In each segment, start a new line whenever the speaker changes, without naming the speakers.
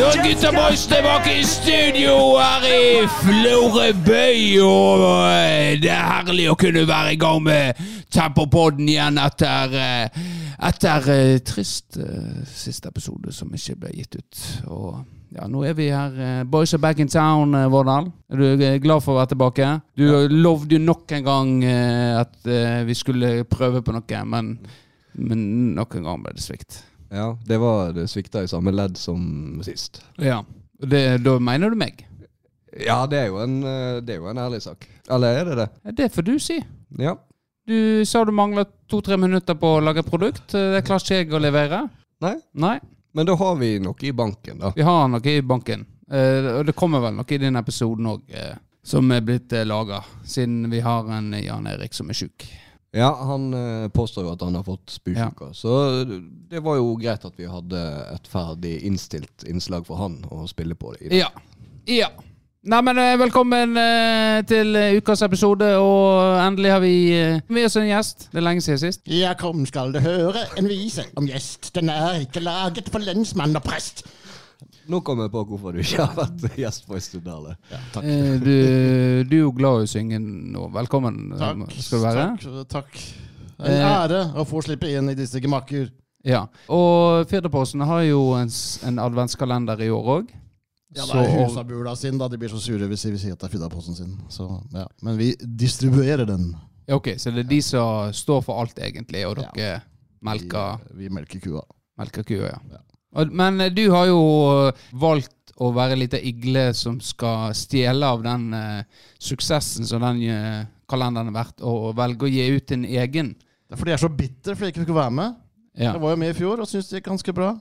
og Gutta Boys tilbake i studio her i Florø by. Og eh, det er herlig å kunne være i gang med Tempopodden igjen etter eh, Etter eh, trist eh, siste episode som ikke ble gitt ut. Og ja, nå er vi her. eh, Boys are back in town, eh, Vårdal. Er du eh, glad for å være tilbake? Du lovde jo nok en gang eh, at eh, vi skulle prøve på noe, men, men nok en gang ble det svikt.
Ja, det var det svikta i samme ledd som sist.
Ja, det, da mener du meg.
Ja, det er, jo en, eh, det er jo en ærlig sak. Eller er det det?
Det får du si.
Ja.
Du sa du mangla to-tre minutter på å lage produkt. Eh, Det klarer ikke jeg å levere.
Nei,
Nei,
men da har vi noe i banken, da.
vi har noe i banken. Eh, Og det kommer vel noe i den episoden òg som er blitt laga, siden vi har en Jan Erik som er sjuk.
Ja, han eh, påstår jo at han har fått spysjuka, så det var jo greit at vi hadde et ferdig innstilt innslag for han å spille på. i dag.
Ja. ja. Nei, men eh, velkommen eh, til eh, ukas episode, og endelig har vi eh, med oss en gjest. Det er lenge siden sist.
Ja, kom skal du høre en vise om gjest. Den er ikke laget for lensmann og prest.
Nå kom jeg på hvorfor du ikke har vært gjest på Estudale. Ja, takk.
Eh, Du, du er jo glad i å synge nå. Velkommen eh,
Takk.
skal du være.
Takk. takk. En
Eh.
ære å få slippe inn i disse gemakker.
Ja, og Firdaposten har jo en, s- en adventskalender i år òg.
Ja, det er husabula sin, da. De blir så sure hvis vi sier at det er Fiddaposten sin. Så, ja. Men vi distribuerer den.
Ok, så det er de som står for alt, egentlig, og dere melker,
Vi, vi melker kua.
melker kua, ja.
Ja.
Og- Men eh, du har jo eh, valgt å være ei lita igle som skal stjele av den eh, suksessen som den eh, kalenderen har vært, og velge å gi ut en egen.
Det er fordi jeg er så bitter fordi jeg ikke fikk være med.
Ja.
Jeg var jo med i fjor og syntes det gikk ganske bra.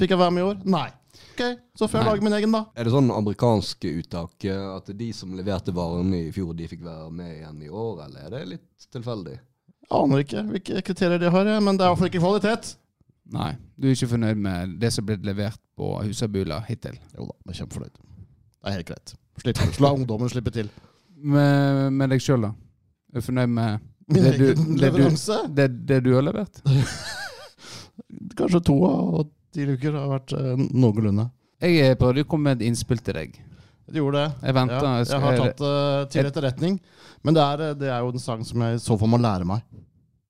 Fikk jeg være med i år? Nei. Ok, Så får jeg
Nei.
lage min egen, da.
Er det sånn amerikansk uttak eh, at de som leverte varene i fjor, de fikk være med igjen i år, eller er det litt tilfeldig?
Jeg aner ikke hvilke kriterier de har, jeg, men det er i hvert fall ikke kvalitet.
Nei, du er ikke fornøyd med det som er blitt levert på Husabula hittil?
Jo da, jeg er kjempefornøyd. Det er helt greit. Slipp, la ungdommen slippe til.
Med, med deg sjøl, da? Er du fornøyd med
Min
Det du-
egen
det du-
leveranse.
det, det du har levert?
Kanskje to av ti uker har vært eh, noenlunde.
Jeg eh, prøvde å komme med et innspill til deg.
Du gjorde det.
Jeg venter.
Ja,
jeg
jeg
skal-
har tatt det til etterretning. Men det er, eh, det er jo en sang som jeg så for meg å lære meg.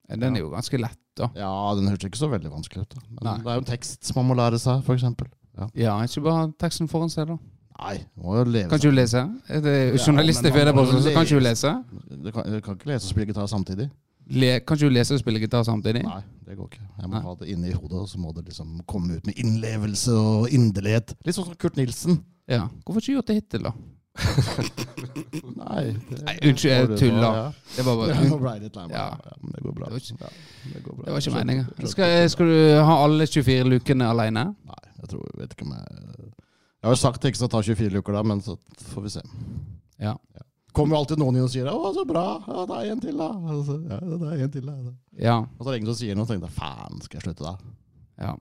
eh, Den er jo ganske lett, da.
Ja, Den høres ikke så veldig vanskelig ut. da. Men
Nei.
det er jo en tekst som man må lære seg, f.eks. Ja.
Ja, ikke bare ha teksten foran seg, da.
Nei, må jo leve
Kan ikke du lese? Er det journalist i
Ja, men man må
Fedreposten, så kan ikke du
lese.
lese?
Du kan, du kan ikke lese og spille gitar samtidig.
Le, kan ikke du lese og spille gitar samtidig?
Nei, det går ikke. Jeg må
Nei.
ha det inne i hodet, og så må det liksom komme ut med innlevelse og inderlighet. Litt sånn som Kurt Nilsen.
Ja. Hvorfor ikke gjort det hittil, da?
Nei, det-
Nei, unnskyld, jeg
Ja,
tuller.
ja.
Det var
Ja,
bare
nå ble jeg litt lei meg.
Ja.
Ja, men det går bra.
Det var ikke-
Ja, det går bra.
Det var ikke
Skjønner-
meninga.
skjønner-
Skal, skal du ha alle 24 lukene aleine?
Nei, jeg tror jeg vet ikke om jeg Jeg har jo sagt til Ekstad å ta 24 uker, da, men så får vi se.
Ja.
Kommer jo alltid noen inn og sier 'Å, så bra! Ja, det er en til, da'. Og så, ja, det er en til, da. Og
Ja.
så er det ingen som sier noe, så tenker jeg 'faen, skal jeg slutte', da?
ja.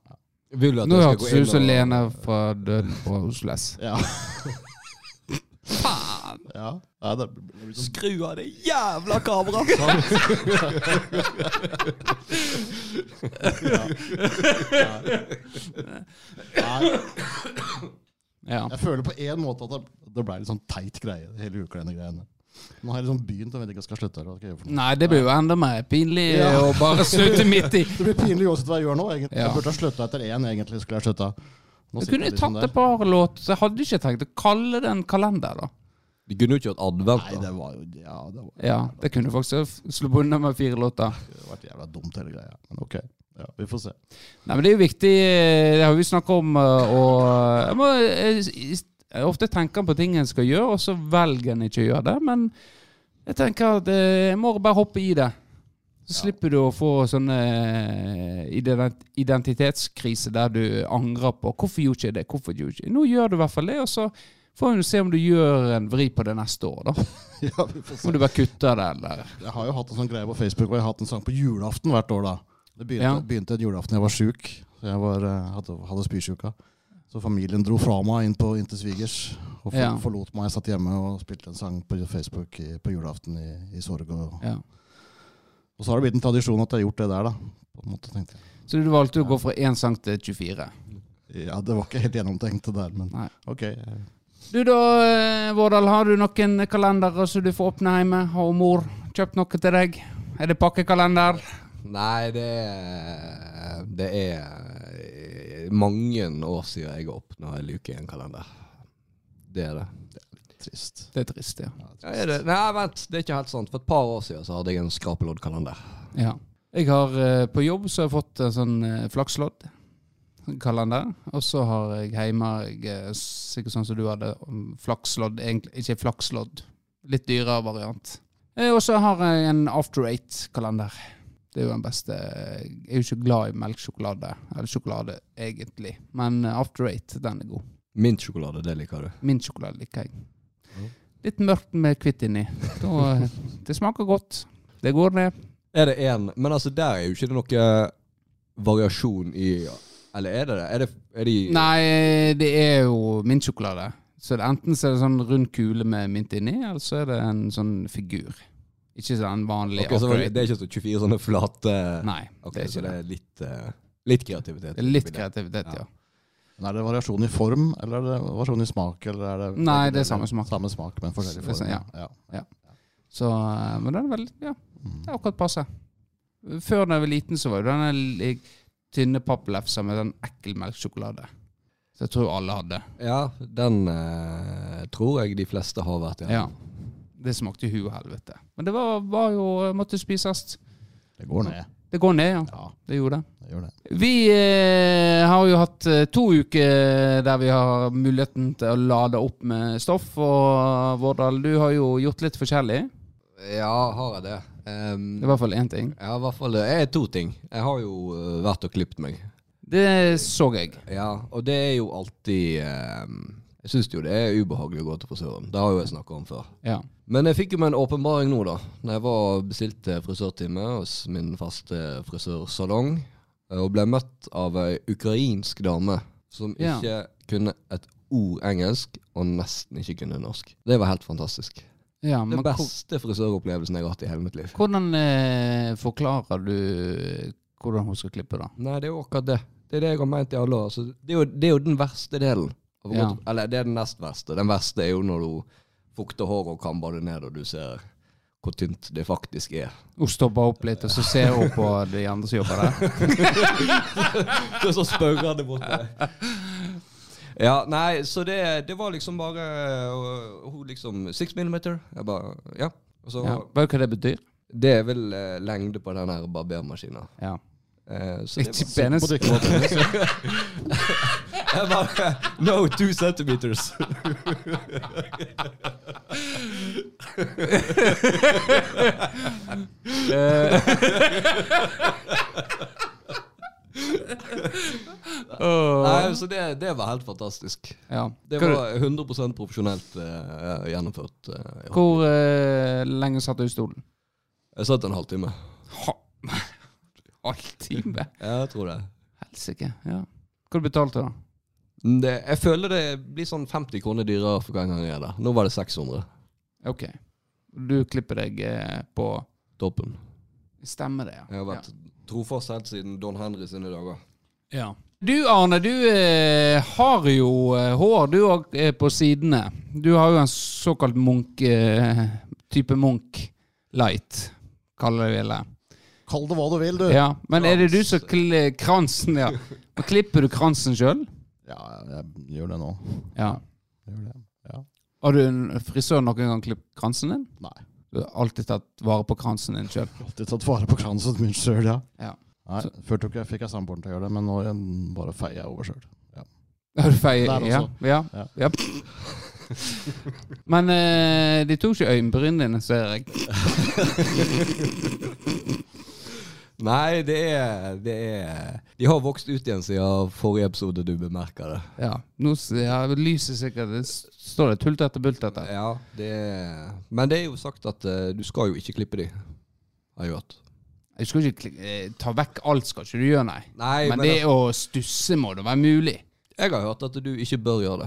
Vil du at
Nå
jeg skal gå
hørtes det
inn
ut som
og-
Lene fra Døden på Oslo S.
Ja. Faen! Ja. Nei, det blir sånn
Skru av det jævla kameraet!
Nei,
Ja.
jeg føler på en måte at det, det ble litt sånn teit greie hele uka, denne greiene. Nå har jeg liksom begynt og vet ikke hva jeg skal slutte. eller Hva skal jeg gjøre for noe?
Nei, det blir jo enda mer pinlig
Ja.
å bare slutte midt i.
Det blir pinlig uansett hva jeg gjør nå. egentlig.
Ja.
Jeg burde ha slutta etter én, egentlig. skulle Jeg slutta. Nå
Jeg
sitter
kunne jo
jeg liksom
tatt
der.
et par låter, så jeg hadde ikke tenkt å kalle det en kalender, da.
Du kunne jo ikke hatt advent,
Nei,
da.
det var jo Ja, det var
Ja, det kunne faktisk slå bunna med fire låter.
det vært jævla dumt, hele greia. Men ok. Ja, vi får se.
Nei, men det er jo viktig, eh, det har vi snakka om, eh, og jeg må eh, s- jeg ofte tenker på ting en skal gjøre, og så velger en ikke å gjøre det, men jeg tenker at eh, jeg må bare hoppe i det. Så slipper du å få sånne eh, ident- identitetskrise der du angrer på 'Hvorfor gjorde ikke jeg det? Hvorfor gjorde jeg ikke det?' Nå gjør du i hvert fall det, og så får vi se om du gjør en vri på det neste år, da.
Ja, vi får
Om du bare kutter det, eller
Jeg har jo hatt en sånn greie på Facebook, og jeg har hatt en sang på julaften hvert år, da. Det begynte,
Ja.
begynte en julaften jeg var sjuk. Så Jeg var, eh, hadde, hadde spysjuka. Så familien dro fra meg inn, på, inn til svigers og for,
Ja.
forlot meg. Jeg satt hjemme og spilte en sang på Facebook i, på julaften i, i sorg. Og,
ja.
og så har det blitt en tradisjon at jeg har gjort det der, da. På en måte, tenkte jeg.
Så du valgte å gå fra én sang til 24.
Ja, det var ikke helt gjennomtenkt det der, men
Nei.
ok. eh,
Du da, eh, Vårdal, har du noen kalendere som du får åpne hjemme? Har mor kjøpt noe til deg? Er det pakkekalender?
Nei, det er, det er mange år siden jeg åpna en luke i en kalender. Det er det.
Trist.
Det er trist, ja.
Ja, er det. Nei, vent, det er ikke helt sant. For et par år siden så hadde jeg en skrapeloddkalender.
ja. Jeg har eh, På jobb så har jeg fått en sånn eh, flakslodd. en Kalender. Og så har jeg hjemme jeg, eh, sikkert sånn som du hadde, mm, flakslodd. Egentlig ikke flakslodd. Litt dyrere variant. Eh, Og så har jeg en After Eight-kalender. Det er jo den beste Jeg er jo ikke glad i melkesjokolade, eller sjokolade egentlig, men eh, After Eight, den er god.
Mintsjokolade, det liker du.
Min sjokolade liker jeg. Litt mørkt med hvitt inni. Da, eh, det smaker godt. Det går ned.
Er det én Men altså, der er jo ikke det noe variasjon i Eller er det det? Er det, er de,
Nei, det er jo min sjokolade. Så det, enten så er det sånn rund kule med mynt inni, eller så er det en sånn figur. Ikke sånn vanlig
Ok, så var det,
upgrade.
det er ikke så 24 sånne flate
Nei,
Ok,
det er
Så
ikke
det
det.
er litt, eh, litt kreativitet.
Det er litt kreativitet, ja.
Men er det variasjon i form, eller er det variasjon i smak? Eller er det
Nei, det er samme smak.
Samme smak, men forskjellig
Det er
form.
sånn, ja.
ja.
Så, eh, men den er veldig Ja,
Mm.
det er akkurat passe. Før da jeg var liten, så var jo denne li- tynne papplefsa med den ekkel melkesjokolade. Så jeg tror alle hadde.
Ja, den eh, tror jeg de fleste har vært i.
Ja. Det smakte jo huet helvete. Men det var, var jo måtte spises.
Det går ned.
Det går ned, ja.
Ja,
Det gjorde det.
det gjør det.
Vi eh, har jo hatt eh, to uker der vi har muligheten til å lade opp med stoff. Og Vårdal, du har jo gjort litt forskjellig.
ja har jeg det? Ehm,
Det er i hvert fall én ting.
ja, i hvert fall det er to ting. Jeg har jo eh, vært og klippet meg.
Det så jeg.
Ja, og det er jo alltid ehm, Jeg syns jo det er ubehagelig å gå til frisøren. Det har jo jeg snakka om før.
Ja.
Men jeg fikk jo meg en åpenbaring nå, da. Når jeg var og bestilte frisørtime hos min faste frisørsalong, eh, og ble møtt av ei ukrainsk dame som
Ja.
ikke kunne et ord engelsk, og nesten ikke kunne norsk. Det var helt fantastisk.
ja men
Den
hvor-
beste frisøropplevelsen jeg har hatt i hele mitt liv.
hvordan eh, forklarer du hvordan hun skal klippe, da?
Nei, det er jo akkurat det. Det er det jeg har ment i alle år. Så det, er jo, det er jo den verste delen. av å gå
Ja.
til- Eller det er den nest verste. Den verste er jo når du fukter håret og kammer det ned, og du ser hvor tynt det faktisk er.
Hun stopper opp litt, og så ser hun på de andre som jobber der.
Og så spørrer det borte. Ja, nei, så det, det var liksom bare øh, Hun liksom Six millimeter. Jeg bare Ja. Og så
Ja. Vet du hva det betyr?
Det er vel eh, lengde på den her barbermaskinen.
Ja.
Eh, så det
Ikke
var,
penis.
Må drikke vann.
jeg bare No, two centimeters.
Åh.
Nei, så det, det var helt fantastisk.
Ja.
Det
Hva-
var 100 profesjonelt eh, gjennomført. eh, ja.
Hvor eh, lenge satt du i stolen?
Jeg satt en halvtime.
Halvtime?
Ja, Jeg tror det.
Helsike. Ja. Hva du betalte du, da?
Mm, det. Jeg føler det blir sånn 50 kroner dyrere for hver gang jeg er der. Nå var det 600.
Ok. Du klipper deg eh, på
Toppen.
Stemmer det, ja.
Jeg har vært trofast helt siden Don Henry sine dager.
ja. ja. Du Arne, du eh, har jo eh, hår du òg eh, på sidene. Du har jo en såkalt munk eh, type munk light, kaller vi det.
Kall det hva du vil, du.
Ja,
Ja,
men er det du som kl kransen, ja. Men klipper du kransen sjøl?
jeg gjør det nå.
Ja.
Jeg Gjør det. Ja.
Har du en frisør noen gang klippet kransen din?
Nei.
Du har alltid tatt vare på kransen din sjøl.
Alltid tatt vare på kransen min sjøl, ja.
Ja.
Nei, Før tok jeg, fikk jeg samboeren til å gjøre det, men nå eh, bare feier jeg over sjøl.
Har du feil?
Der
Ja,
også.
ja,
Ja.
ja. Men eh, de tok ikke øyenbrynene dine, ser jeg.
Nei, det er, det er De har vokst ut igjen siden forrige episode du bemerker det.
Ja, nå s- ja, lyset sikkert det s- Står det tulltete, bultete?
Ja, det er Men det er jo sagt at eh, du skal jo ikke klippe de. Har jeg hørt.
Jeg skal ikke kli- eh, ta vekk alt, skal ikke du gjøre, nei.
Nei,
Men det å stusse må da være mulig.
jeg har hørt at du ikke bør gjøre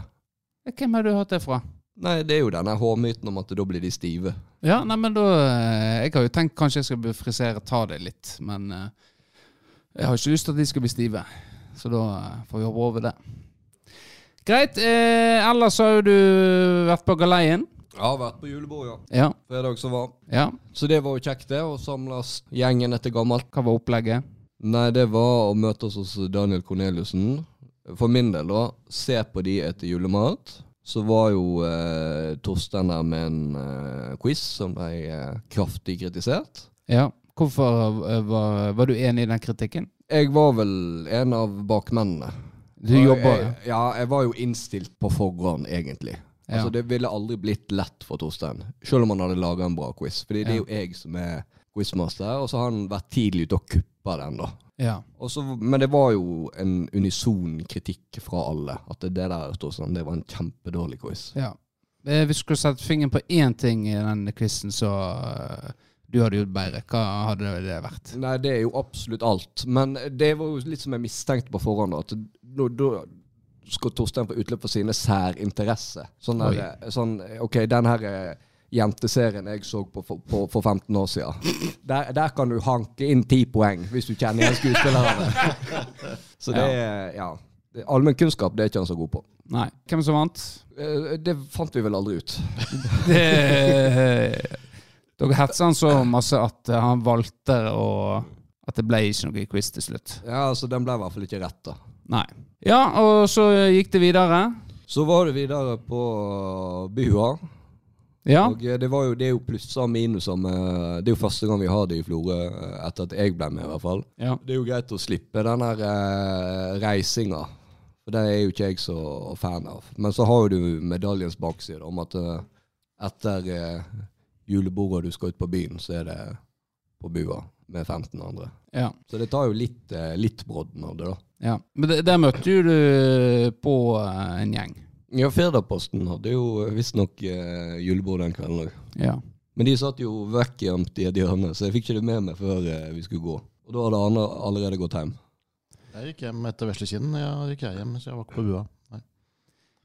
det.
Hvem har du hørt det fra?
Nei, det er jo denne hårmyten om at da blir de stive.
Ja, nei, men da eh, Jeg har jo tenkt kanskje jeg skal bli frisere, ta det litt, men eh, jeg har ikke lyst til at de skal bli stive. Så da eh, får vi hoppe over det. Greit. Eh, ellers har jo du vært på galeien.
Jeg har vært på julebord, ja.
Ja.
Fredag som var.
ja.
Så det var jo kjekt, det. Å samles gjengen etter gammelt.
Hva var opplegget?
Nei, det var å møtes hos Daniel Corneliussen. For min del, da. Se på de etter julemat. Så var jo eh, Torstein der med en eh, quiz som ble eh, kraftig kritisert.
Ja. Hvorfor eh, var, var du enig i den kritikken?
Jeg var vel en av bakmennene.
Du
Og
jobber
jeg, Ja, jeg var jo innstilt på forhånd, egentlig.
Ja.
Altså, Det ville aldri blitt lett for Torstein, selv om han hadde laga en bra quiz. Fordi det er jo jeg som er quizmaster, og så har han vært tidlig ute og kuppa den, da.
Ja.
Og så- men det var jo en unison kritikk fra alle. At det der Torstein, det var en kjempedårlig quiz.
ja. Eh, Hvis du skulle satt fingeren på én ting i den quizen, så eh, du hadde gjort bedre. Hva hadde det vært?
Nei, det er jo absolutt alt. Men det var jo litt som jeg mistenkte på forhånd. da, At nå, da skal Torstein få utløp for sine særinteresser. Sånn, der, sånn OK, den her eh, jenteserien jeg så på for, på, for 15 år siden. Der, der kan du hanke inn ti poeng, hvis du kjenner igjen skuespillerne. Så det er Ja. Allmennkunnskap, det er ikke han så god på.
Nei. Hvem som vant?
Eh, Det fant vi vel aldri ut.
Det, eh, dere hetsa han så masse at eh, han valgte å At det ble ikke noe quiz til slutt.
Ja, altså Den ble i hvert fall ikke rett, da.
Nei. Ja, og så gikk det videre.
Så var det videre på eh, Bua.
Ja.
Og eh, det, var jo, det er jo plusser og minuser med Det er jo første gang vi har det i Florø, eh, etter at jeg ble med, i hvert fall.
ja.
Det er jo greit å slippe den der eh, reisinga. For det er jo ikke jeg så fan av. Men så har jo du medaljens bakside da, om at eh, etter eh, julebordet du skal ut på byen, så er det på Bua med 15 andre.
ja.
Så det tar jo litt, eh, litt brodden av det, da.
ja. Men det- der møtte jo du på eh, en gjeng.
Ja, Firdaposten hadde jo visstnok eh, julebord den kvelden òg.
Ja.
Men de satt jo vekkgjemt i et hjørne, så jeg fikk ikke det med meg før eh, vi skulle gå. Og da hadde Arne allerede gått hjem.
Jeg gikk hjem etter vesle kinn. Jeg gikk jeg hjem, så jeg var ikke på bua. Nei.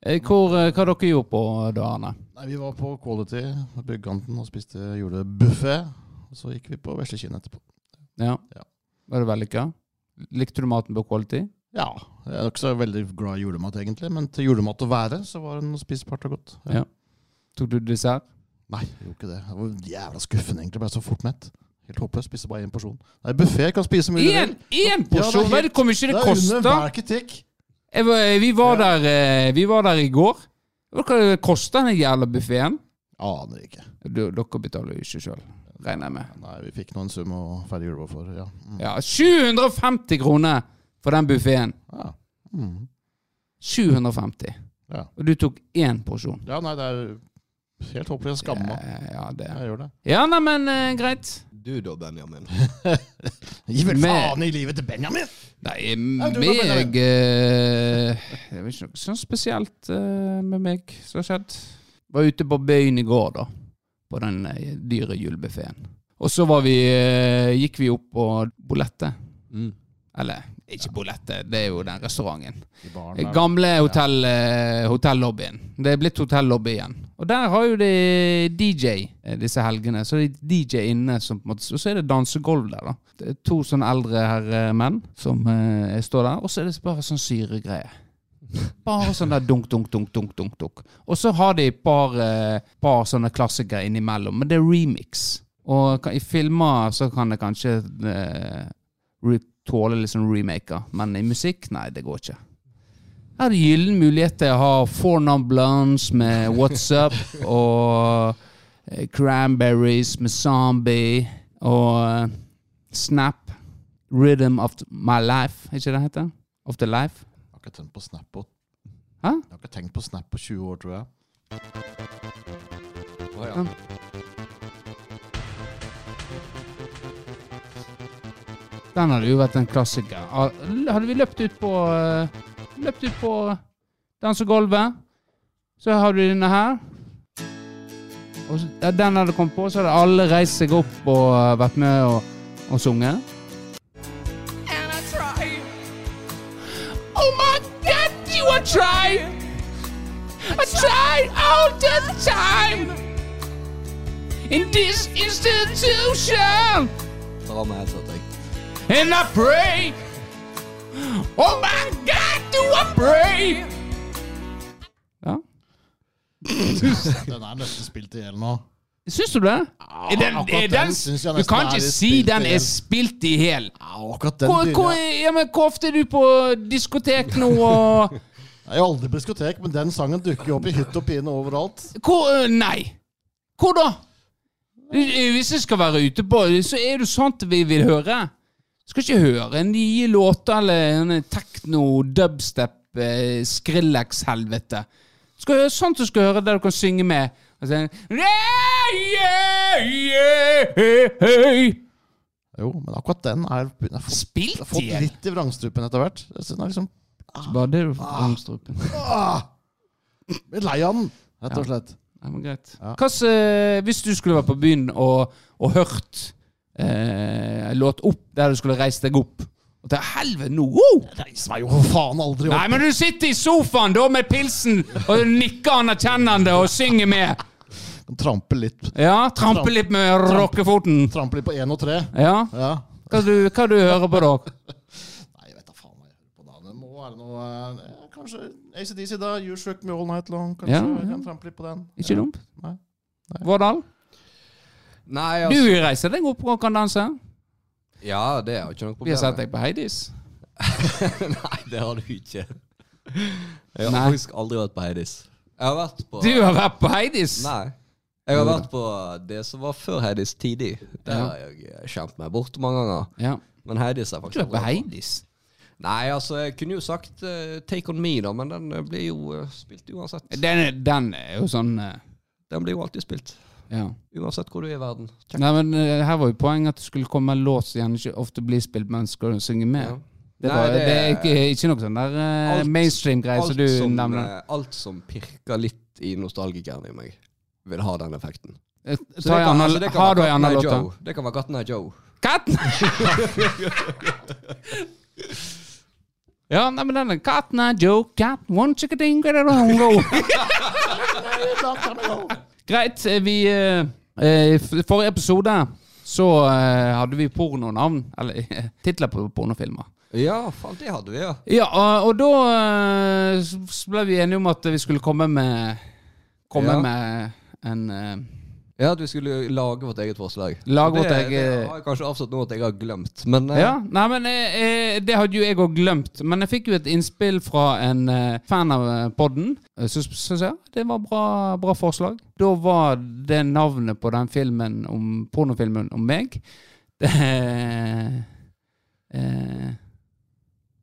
Eh, Hvor, eh, hva dere gjorde på da, Arne?
Nei, Vi var på Quality, på Brygganten, og spiste julebuffé. Og så gikk vi på vesle kinn etterpå.
Ja.
Ja.
Var det vellykka? Likte du maten på quality?
Ja, jeg er ikke så veldig glad i julemat egentlig, men til julemat å være, så var den spisbart og godt.
Ja. Tok du dessert?
Nei, jeg gjorde ikke det. Det var jævla skuffende egentlig, ble så fort mett. Helt håpløst, spiste bare én porsjon. Nei, buffé kan spise så mye du vil.
Én porsjon!
Ja, det er helt-
Vel, Hvor mye det
Det er under
kosta?
hver kritikk.
Jeg var- eh, Vi var der eh, Vi var der i går. Vet du Hva kosta den jævla buffeen?
Aner ikke.
Dere betaler jo ikke sjøl, regner jeg med.
Nei, vi fikk nå en sum å feire julebord for, ja. Mm.
Ja, 750 kroner for den buffeen.
Ja. Mm.
750.
Ja.
Og du tok én porsjon.
ja, nei, det er helt håpløst. Jeg skammer meg.
Eh, Ja, det.
Jeg gjør det.
Ja, nei, men eh, greit.
Du da, Benjamin.
Gi vel
Men-
faen i livet til Benjamin!
Nei,
du da,
meg
Benjamin.
eh, Det var ikke noe sånn spesielt eh, med meg som har skjedd. Var ute på byen i går, da. På den eh, dyre julebuffeen. Og så var vi, eh, gikk vi opp på Bolette.
Mm.
Eller ikke Bolette, det er jo den restauranten.
I baren
Eh,
der.
Gamle hotell, eh, hotellobbyen. Det er blitt hotelllobby igjen. Og der har jo de DJ eh, disse helgene. Så det er DJ inne som på en måte Og så er det dansegulv der, da. Det er to sånne eldre herre menn som eh, står der. Og så er det bare sånn syregreie. Bare sånn der dunk, dunk, dunk, dunk, dunk, dunk. Og så har de et par, eh, par sånne klassikere innimellom, men det er remix. Og ka- i filmer så kan det kanskje eh, re- tåle litt sånn remaker, men i musikk, nei, det går ikke. Her er det gyllen mulighet til å ha Four Non-Blondes med What's Up og eh, Cranberries med Zombie og eh, Snap. Rhythm of my life, er ikke det det heter? Of the life?
Jeg har ikke tenkt på Snap på
Hæ?
Jeg har ikke tenkt på Snap på 20 år, tror jeg.
Å, ja.
Den hadde jo vært en klassiker. Ah, Hadde vi løpt ut på eh, Løpt ut på dansegulvet, så har du denne her. Og så, ja, den hadde kommet på, så hadde alle reist seg opp og eh, vært med og, og sunget.
And I try,
Oh my god, you are trying! I tried all the time! In this institution!
Dra med headset, jeg.
And I pray Oh my God, do I pray! Ja.
Den er nesten spilt i hjel nå.
Syns du det? Er den,
akkurat
er
den
den,
synes jeg
du
nesten
kan ikke
er litt
si
spilt i
den er
hjel.
spilt i hjel.
Ja, akkurat den
Hvor, hvor,
dyre.
ja, men hvor ofte er du på diskotek nå? Og,
Jeg er aldri på diskotek, men den sangen dukker jo opp i hytt og pine overalt.
hvor, øh, nei. Hvor da? Hvis jeg skal være ute på det, så er det sånt vi vil høre. Skal ikke høre nye låter eller en techno, dubstep, eh, Skrillex-helvete. Skal høre sånt du skal høre, der du kan synge med. Altså, yeah, yeah, yeah, hey, hey.
Jo, men akkurat den er, den har fått,
Spilt
har fått
igjen?
litt i vrangstrupen etter hvert. Jeg synes Den er liksom
Bare det du får omstrupen.
ah, Jeg er lei av den, rett og slett.
Ja, men greit.
Ja.
Hva s- eh, hvis du skulle vært på byen og, og hørt eh, en låt opp der du skulle reist deg opp og til helvete nå wow!
Reis meg jo for faen aldri
Nei,
opp.
men du sitter i sofaen da med pilsen og nikker anerkjennende og synger med.
Trampe litt.
Ja, Trampe litt med rockefoten.
Trampe litt på én og tre.
Ja.
Ja.
Hva du, hva du hører på da?
Nei, jeg vet da faen hva jeg hører på da. Det må være noe eh, ja, Kanskje ACDC, da. You Shook Me All Night Long. Kanskje
Ja,
jeg
ja.
kan trampe litt på den.
Ikke dumt.
Nei.
Vårdal,
Nei,
du
altså
reiser deg opp og kan danse.
Ja, det er jo ikke noe
Vi har sett
problem.
deg på Heidis.
Nei, det har du ikke. Jeg har
Nei.
faktisk aldri vært på Heidis. Jeg har vært på
Du har vært på Heidis!
Nei. Jeg har vært på det som var før Heidis tidlig. Der
Ja.
har jeg kjent meg bort mange ganger.
Ja.
Men Heidis er
Du
faktisk
er på Heidis.
Nei, altså, jeg kunne jo sagt eh, Take On Me, da, men den eh, blir jo eh, spilt uansett.
Den, er- den er jo sånn eh,
Den blir jo alltid spilt.
Ja.
Uansett hvor du er i verden. Check.
Nei, men eh, her var jo poenget at det skulle komme en låt som gjerne ikke ofte blir spilt, men skal du synge med.
Ja.
Det,
Nei,
var, det,
det
er
er-
ikke, ikke noe sånn der eh,
Alt-
mainstream-greie som
Alt
du
som,
nevner.
eh, alt som pirker litt i nostalgikeren i meg, vil ha den effekten.
Eh,
Så
Ta
det kan-
gjerne,
altså, det kan
har
være
du en
Cotton Eye
annen låt? da?
Joe. Det kan være Cotton Eye Joe.
Katten! ja, nei, men den er Katten er Joe, cat one chickading, go. Greit, eh, vi eh, eh, f- Forrige episode så eh, hadde vi pornonavn, eller eh, titler på pornofilmer.
Ja, faen, det hadde vi, ja.
Ja, og, og da eh, s- s- ble vi enige om at vi skulle komme med Komme
Ja.
med en eh,
Ja, At vi skulle lage vårt eget forslag.
Lage vårt
det,
eget-
Det har jeg kanskje avsatt noe at jeg har glemt, men eh,
Ja, nei, men eh, eh, Det hadde jo jeg òg glemt. Men jeg fikk jo et innspill fra en eh, fan av eh, podden. eh, Så så sa jeg det var bra, bra forslag. Da var det navnet på den filmen om pornofilmen om meg det, eh,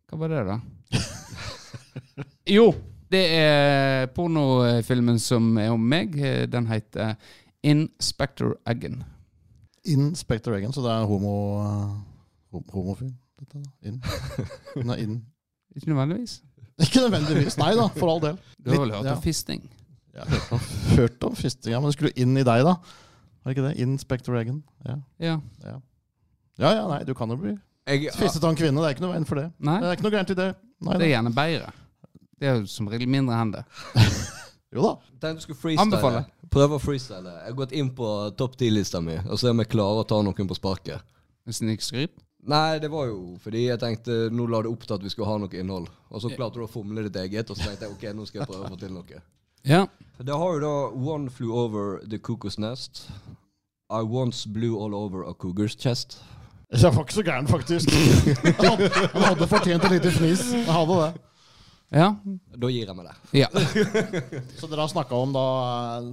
Hva var det, da? jo, det er pornofilmen som er om meg. Eh, Den heter Inspector Eggen.
Inspector Reagan, så det er homo... hom homofil, dette da. Inn. Hun er inn.
Ikke nødvendigvis.
Ikke nødvendigvis, nei da, for all del.
Du har vel hørt
ja.
om fisting?
Jeg har hørt om, hørt om fistinga, men det skulle inn i deg, da. Var det ikke det? Inspector Reagan. Ja.
Ja.
ja. Ja ja, nei, du kan jo bli
jeg,
fistet av en kvinne. Det er ikke noe veien for det.
Nei?
Det er ikke noe gærent i det. Nei,
Det er
da.
gjerne bedre. Det er jo som regel mindre hender.
Jo da.
tenkte du skulle freestyle.
Anbefale.
Prøve å freestyle. Jeg har gått inn på topp 10-lista mi og se om jeg klarer å ta noen på sparket.
Snikskryt.
Nei, det var jo fordi jeg tenkte nå la det opp til at vi skulle ha noe innhold. Og så klarte du å fomle ditt eget, og så tenkte jeg ok, nå skal jeg prøve å få til noe.
Ja.
Det har jo da One flew over the cuckoo's nest. I once blew all over a cougar's chest.
Jeg var ikke så gæren, faktisk. Han hadde- han hadde fortjent et lite fnis. Han hadde det.
Ja.
Da gir jeg meg der.
ja.
Så dere har snakka om da eh,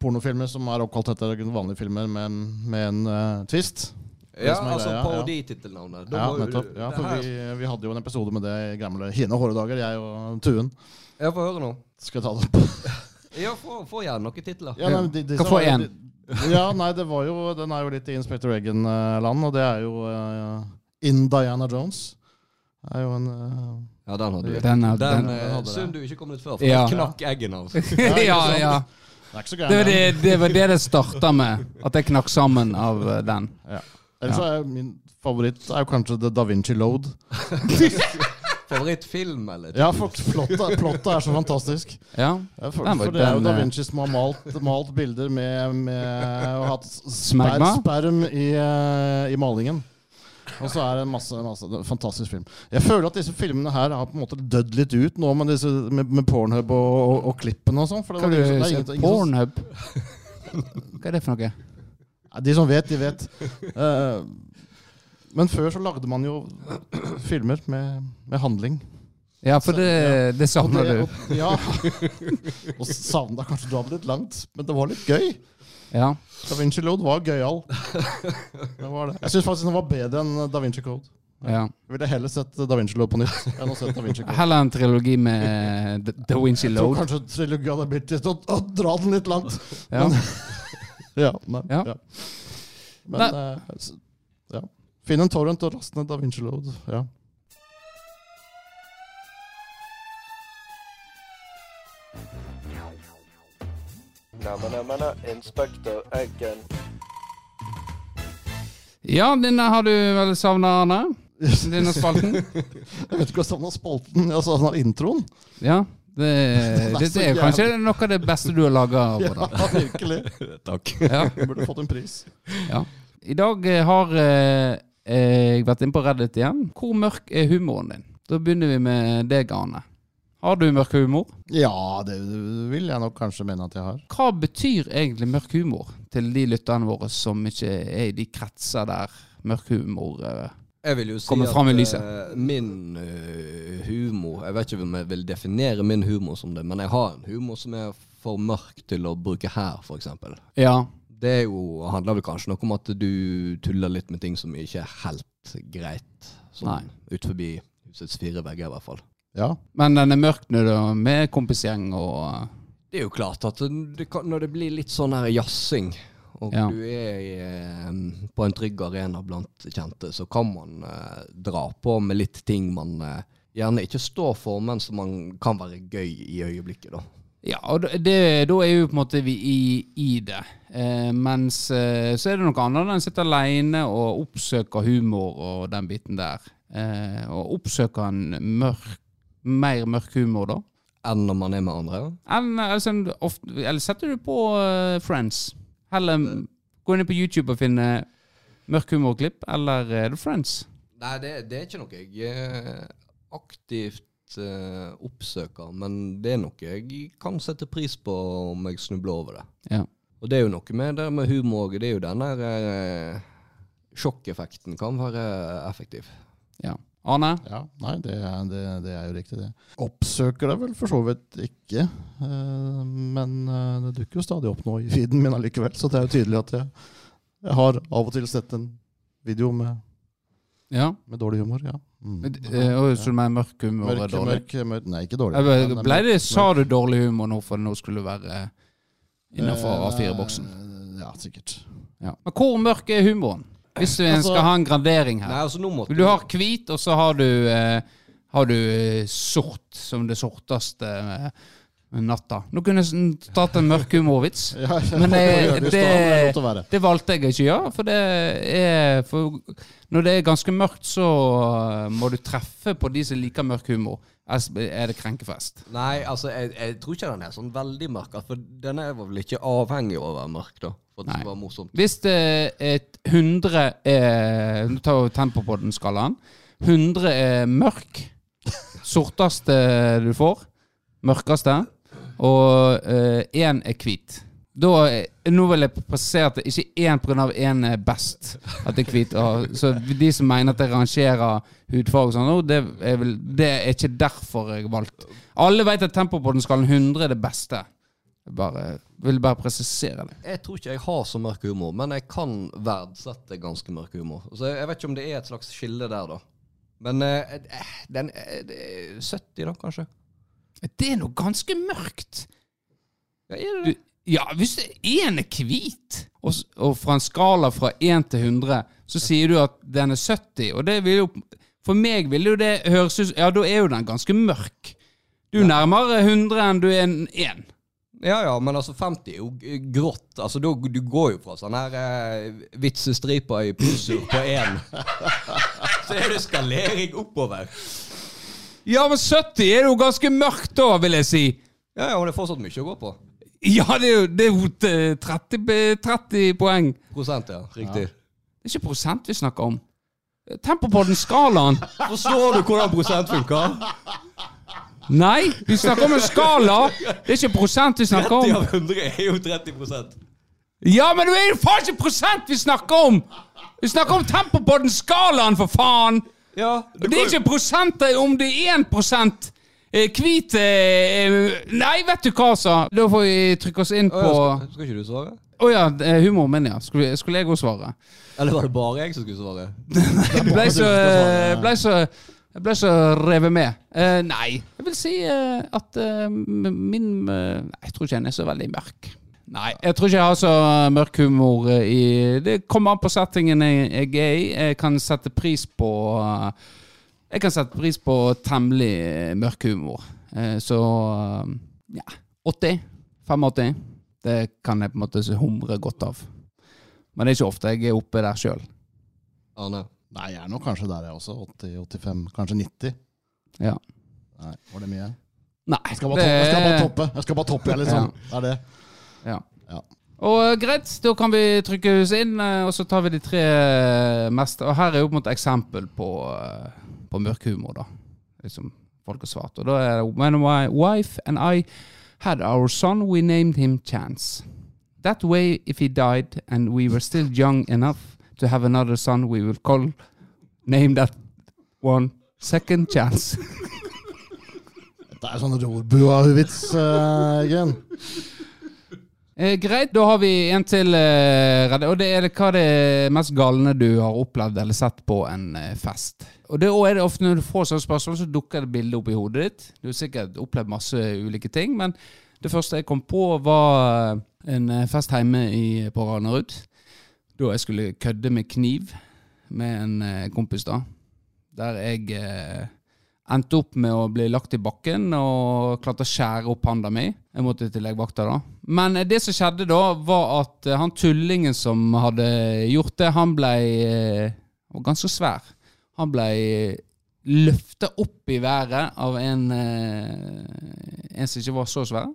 pornofilmer som er oppkalt etter vanlige filmer med, med en eh, twist. Det
Ja,
som er
altså
greia, ja.
paroditittelnavnet. Da
Ja,
må jo-
nettopp. Ja,
det
for
her-
vi, vi hadde jo en episode med det i gamle hine hårde dager, jeg og Tuen.
Jeg får høre nå.
Skal jeg ta det opp?
Ja, få få gjerne noen titler.
Ja, nei, de- de-
Kan få
de-
en.
Ja, nei, det var jo, den er jo litt i Inspector Reagan-land, og det er jo eh, In Diana Jones. Det er jo en eh,
Ja, den hadde vi. Den,
Den er, den,
eh,
hadde det.
Synd du ikke kom litt før, for
Ja.
jeg knakk eggen av.
ja, ja.
Det er ikke så
Det var
gæren.
det
den.
det, var det, det starta med. At jeg knakk sammen av eh, den.
Ellers så er jo min favoritt er jo kanskje The Da Vinci Load.
Favorittfilm, eller?
Ja, for plottet, plottet er så fantastisk.
Ja.
Ja, for,
Den var-
for det er jo
den,
Da
eh,
Vinci som har malt, malt bilder med, med og hatt sper,
Smegma?
sperm i, eh, i malingen. Og så er det en masse, masse det er en fantastisk film. Jeg føler at disse filmene her har på en måte dødd litt ut nå med, disse, med, med pornhub og, og, og klippene og sånn. for det
Hva
var
du
ingen som- det er ingen-
sier?
ingen som-
Pornhub? Hva er det for noe?
Nei, De som vet, de vet. Eh, men før så lagde man jo filmer med, med handling.
Ja, for det, det
Og
savner
det-
du.
og- Ja. Og savna kanskje da litt langt, men det var litt gøy.
Ja.
Da Vinci Load var gøyal. Det var det. Jeg syns faktisk den var bedre enn Da Vinci Code.
ja.
Jeg ville heller sett Da Vinci Load på nytt enn å se Da Vinci Code.
Heller en trilogi med The- Da Vinci
Jeg
Load.
tror kanskje trilogien hadde blitt litt å, å dra den litt langt.
Ja.
Ja, nei, ja.
Ja.
Men
Nei.
eh, s- ja. Finn en torrent og last ned Da Vinci Load. Ja.
Namma namma Inspector Eggen.
ja, denne har du vel savna, Arne? Denne spalten?
Jeg vet ikke hva savna spalten. Jeg savna introen.
Ja. Det, dette er jo kanskje noe av det beste du har laga.
Ja, virkelig.
Takk.
Ja.
Jeg burde fått en pris.
Ja. I dag eh, har eh, eh, jeg vært inne på Reddit igjen. Hvor mørk er humoren din? Da begynner vi med deg, Arne. Har du mørk humor?
Ja, det vil jeg nok kanskje mene at jeg har.
Hva betyr egentlig mørk humor til de lytterne våre som ikke er i de kretser der mørk humor eh,
Jeg vil jo si
Kommer fram i
at
lyset.
eh, min eh, humor Jeg vet ikke om jeg vil definere min humor som det, men jeg har en humor som er for mørk til å bruke her, f.eks.
Ja.
Det er jo, handler vel kanskje noe om at du tuller litt med ting som ikke er helt greit.
Nei.
Sånn ut forbi husets fire vegger, i hvert fall.
Ja.
Men den er mørk nå, da, med kompisgjeng og eh,
Det er jo klart at det kan, når det blir litt sånn her jazzing, og
Ja.
du er i, eh, på en trygg arena blant kjente, så kan man eh, dra på med litt ting man eh, gjerne ikke står for, men som man kan være gøy i øyeblikket, da.
Ja, og da- det, da er jo på en måte vi i, i det. Eh, mens eh, så er det noe annet når en sitter alene og oppsøker humor og den biten der. Eh, og oppsøker en mørk, mer mørk humor, da.
Enn når man er med andre.
Enn, eh, altså, en ofte, eller setter du på eh, Friends? Heller m- gå inn på YouTube og finne mørk humorklipp, eller er det Friends?
Nei, det, det er ikke noe jeg eh, aktivt eh, oppsøker, men det er noe jeg kan sette pris på om jeg snubler over det.
Ja.
Og det er jo noe med det med humor òg. Det er jo den der eh, Sjokkeffekten kan være effektiv.
ja. Arne?
ja. Nei, det er, det, det er jo riktig, det. Oppsøker det vel for så vidt ikke. eh, Men eh, det dukker jo stadig opp nå i feeden min allikevel, så det er jo tydelig at jeg, jeg har av og til sett en video med,
Ja.
med dårlig humor. Ja. Mm.
Eh, og så med mørk humor er
Mørk,
dårlig.
mørk, mørk Nei, ikke dårlig.
Jeg
men- eh,
bare- Ble det,
mørk-
sa du dårlig humor nå for nå skulle du være innenfor A4-boksen?
Eh, Ja, sikkert.
Ja. Men hvor mørk er humoren? Hvis du en
Altså-
skal ha en gradering
Nei,
her.
altså nå måtte
Du har hvit, og så har du, eh, har du eh, sort som det sorteste eh, natta. Nå kunne jeg sånn tatt en mørk humorvits.
Ja,
Men eh, det-
det, det,
det- Det valgte jeg ikke å gjøre, for det er for Når det er ganske mørkt, så eh, må du treffe på de som liker mørk humor. Ellers er det krenkefest.
Nei, altså jeg, jeg tror ikke den er sånn veldig mørk. For den er vel ikke avhengig av å være mørk, da. For at det
Nei.
skal være morsomt.
Hvis det er et eh, 100 er Nå tar vi tempo på den skalaen. 100 er mørk. Sorteste du får. Mørkeste. Og én er hvit. Da, eh, nå vil jeg presisere at det ikke er én pga. én er best at det er hvit. Og, så de som mener at jeg rangerer hudfarge og sånn, «Å, det, er vel, det er ikke derfor jeg valgte. Alle vet at tempo på den skalaen 100 er det beste. Jeg bare, vil bare presisere det.
Jeg tror ikke jeg har så mørk humor, men jeg kan verdsette ganske mørk humor. Så jeg vet ikke om det er et slags skille der, da. Men eh, eh, den eh, det er 70, da, kanskje?
Det er noe ganske mørkt.
Ja, er det
Du,
det?
ja, hvis det- én er hvit, og, s- og fra en skala fra 1 til 100, så sier du at den er 70, og det vil jo For meg vil jo det høres ut Ja, da er jo den ganske mørk. Du er nærmere 100 enn du er en 1.
Ja ja, men altså 50 er jo g- grått. Altså da, Du går jo fra sånn her eh, vitsestripa i pussur på én Så er det skalering oppover.
Ja, men 70 er jo ganske mørkt da, vil jeg si.
Ja ja, men det er fortsatt mye å gå på.
Ja, det er jo, det er jo t- 30, be- 30 poeng.
Prosent, ja. Riktig.
Det er ikke prosent vi snakker om. Tempopodden-skalaen.
Forstår du hvordan prosent funker?
Nei, vi snakker om en skala! Det er ikke prosent vi snakker om.
30 av 100 er jo 30 prosent.
Ja, men det er jo faen ikke prosent vi snakker om! Vi snakker om Tempopodden-skalaen, for faen!
Ja, du
Det er
kan-
ikke prosenter om det er 1 eh, Hvit eh, Nei, vet du hva, sa Da får vi trykke oss inn
Å,
på
ja,
Å
skal, skal ikke du svare?
ja, eh, humoren min, ja. Skulle, skulle jeg òg svare?
Eller var det bare jeg som skulle svare?
Jeg ble
du
så,
skal svare.
ble så jeg ble så revet med. Eh, nei. Jeg vil si eh, at eh, m- min eh, Nei, jeg tror ikke han er så veldig mørk. Nei, jeg tror ikke jeg har så mørk humor eh, i Det kommer an på settingen jeg, jeg er i. Jeg kan sette pris på eh, Jeg kan sette pris på temmelig eh, mørk humor. Eh, så eh, ja 80. 85. Det kan jeg på en måte humre godt av. Men det er ikke ofte jeg er oppe der sjøl.
Arne.
Nei, jeg er nå kanskje der, jeg også. 80-85, kanskje 90.
Ja.
Nei, var det mye?
Nei.
Jeg skal bare toppe, jeg skal bare toppe. Jeg skal bare toppe, jeg, liksom. Det er det.
Ja.
Ja.
Og eh, greit, da kan vi trykke oss inn, eh, og så tar vi de tre eh, meste. Og her er jo på en måte eksempel på, eh, på mørk humor, da. Liksom folk har svart. Og da er det When my wife and I had our son, we named him Chance. That way, if he died and we were still young enough to have another son, we will call name that one Second Chance.
Det er sånn rorbua-vits, eh, Eggen.
Eh, greit, da har vi en til. Eh, Redde. og det er det, hva er det mest galne du har opplevd eller sett på en eh, fest? Og det og er det ofte når du får sånne spørsmål, så dukker det bilde opp i hodet ditt. Du har sikkert opplevd masse ulike ting, men det første jeg kom på, var en eh, fest hjemme i, på Ranerud. Da jeg skulle kødde med kniv med en eh, kompis, da. Der jeg eh, Endte opp med å bli lagt i bakken og klarte å skjære opp handa mi. Jeg måtte til legevakta, da. Men eh, det som skjedde da, var at eh, han tullingen som hadde gjort det, han ble eh, var ganske svær. Han ble løfta opp i været av en, eh, en som ikke var så svær,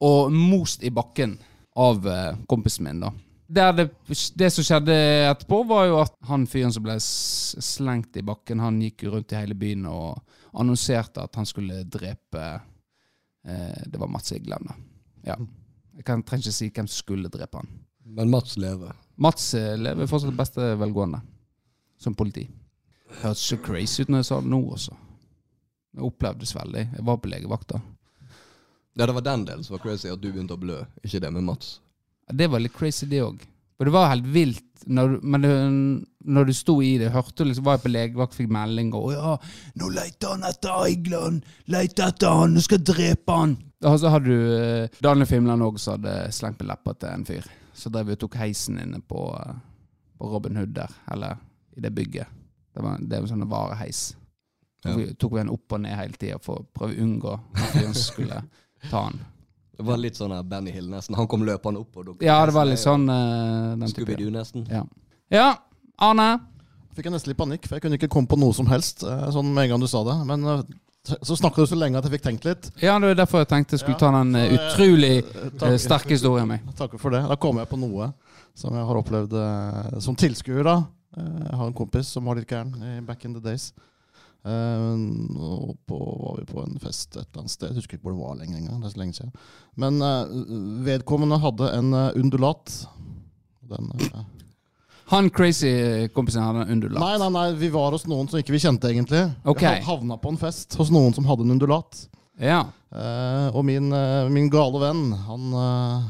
og most i bakken av eh, kompisen min, da. Der det, det som skjedde etterpå, var jo at han fyren som ble s- slengt i bakken, han gikk jo rundt i hele byen og annonserte at han skulle drepe eh, Det var Mats Igland, da. Ja. Jeg kan, trenger ikke si hvem som skulle drepe han.
Men Mats lever.
Mats eh, lever fortsatt beste velgående som politi. Hørtes så crazy ut når jeg sa det nå også. Jeg opplevdes veldig. Jeg var på legevakta.
Ja, det var den delen som var crazy, at du begynte å blø. Ikke det med Mats.
Ja, Det var litt crazy, det òg. Og det var helt vilt. Når, du- men det, når du sto i det, hørte du liksom, var jeg på legevakt, fikk melding og «Å ja, 'Nå leter han etter Eigland! Leter etter han! Nå skal jeg drepe han!' Og så hadde du eh, Daniel Fimland òg, som hadde slengt på leppa til en fyr. Så drev vi og tok heisen inne på, eh, på Robin Hood der, eller i det bygget. Det var, det var en sånn vareheis.
Ja.
Så vi- tok vi den opp og ned hele tida for å prøve å unngå at fyren skulle ta han.
Det var litt sånn her Benny Hill, nesten. Han kom løpende opp og dukket
Ja, det var litt sånn eh, den type.
Scooby-Doo, nesten.
Ja. ja, Arne.
Fikk jeg nesten litt panikk, for jeg kunne ikke komme på noe som helst eh, sånn med en gang du sa det. Men eh, t- så snakka du så lenge at jeg fikk tenkt litt.
Ja, det var derfor jeg tenkte jeg skulle
Ja,
ta den eh,
så, eh,
utrolig
eh, takk.
eh, sterke historien min.
Takker for det. Da kom jeg på noe som jeg har opplevd eh, som tilskuer. da. Eh, Jeg har en kompis som var litt gæren eh, back in the days. Eh, og på, var vi på en fest et eller annet sted. Jeg husker ikke hvor det var lenger engang. det er så lenge siden. Men eh, vedkommende hadde en eh, undulat. Den, eh,
Han crazy eh, kompisen hadde en undulat.
nei, nei, nei, vi var hos noen som ikke vi kjente, egentlig.
Ok.
Jeg hav- havna på en fest hos noen som hadde en undulat.
Ja.
Eh, og min, eh, min gale venn, han eh,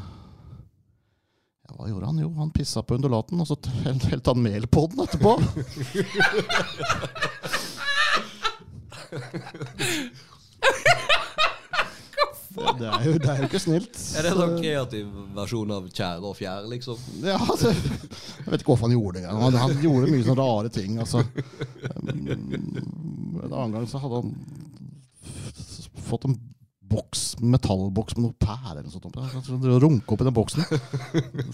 ja, Hva gjorde han? Jo, han pissa på undulaten, og så helt, helt han mel på den etterpå. det, det, er jo, det er jo ikke snilt.
Er det en sånn kreativ versjon av kjære og fjær, liksom?
Ja, altså, jeg vet ikke hvorfor han gjorde det. engang. Han, han gjorde mye sånne rare ting. Altså. Um, En annen gang så hadde han f- fått en boks, metallboks med noe pære eller noe sånt. oppi. Han drev og runka opp i den boksen.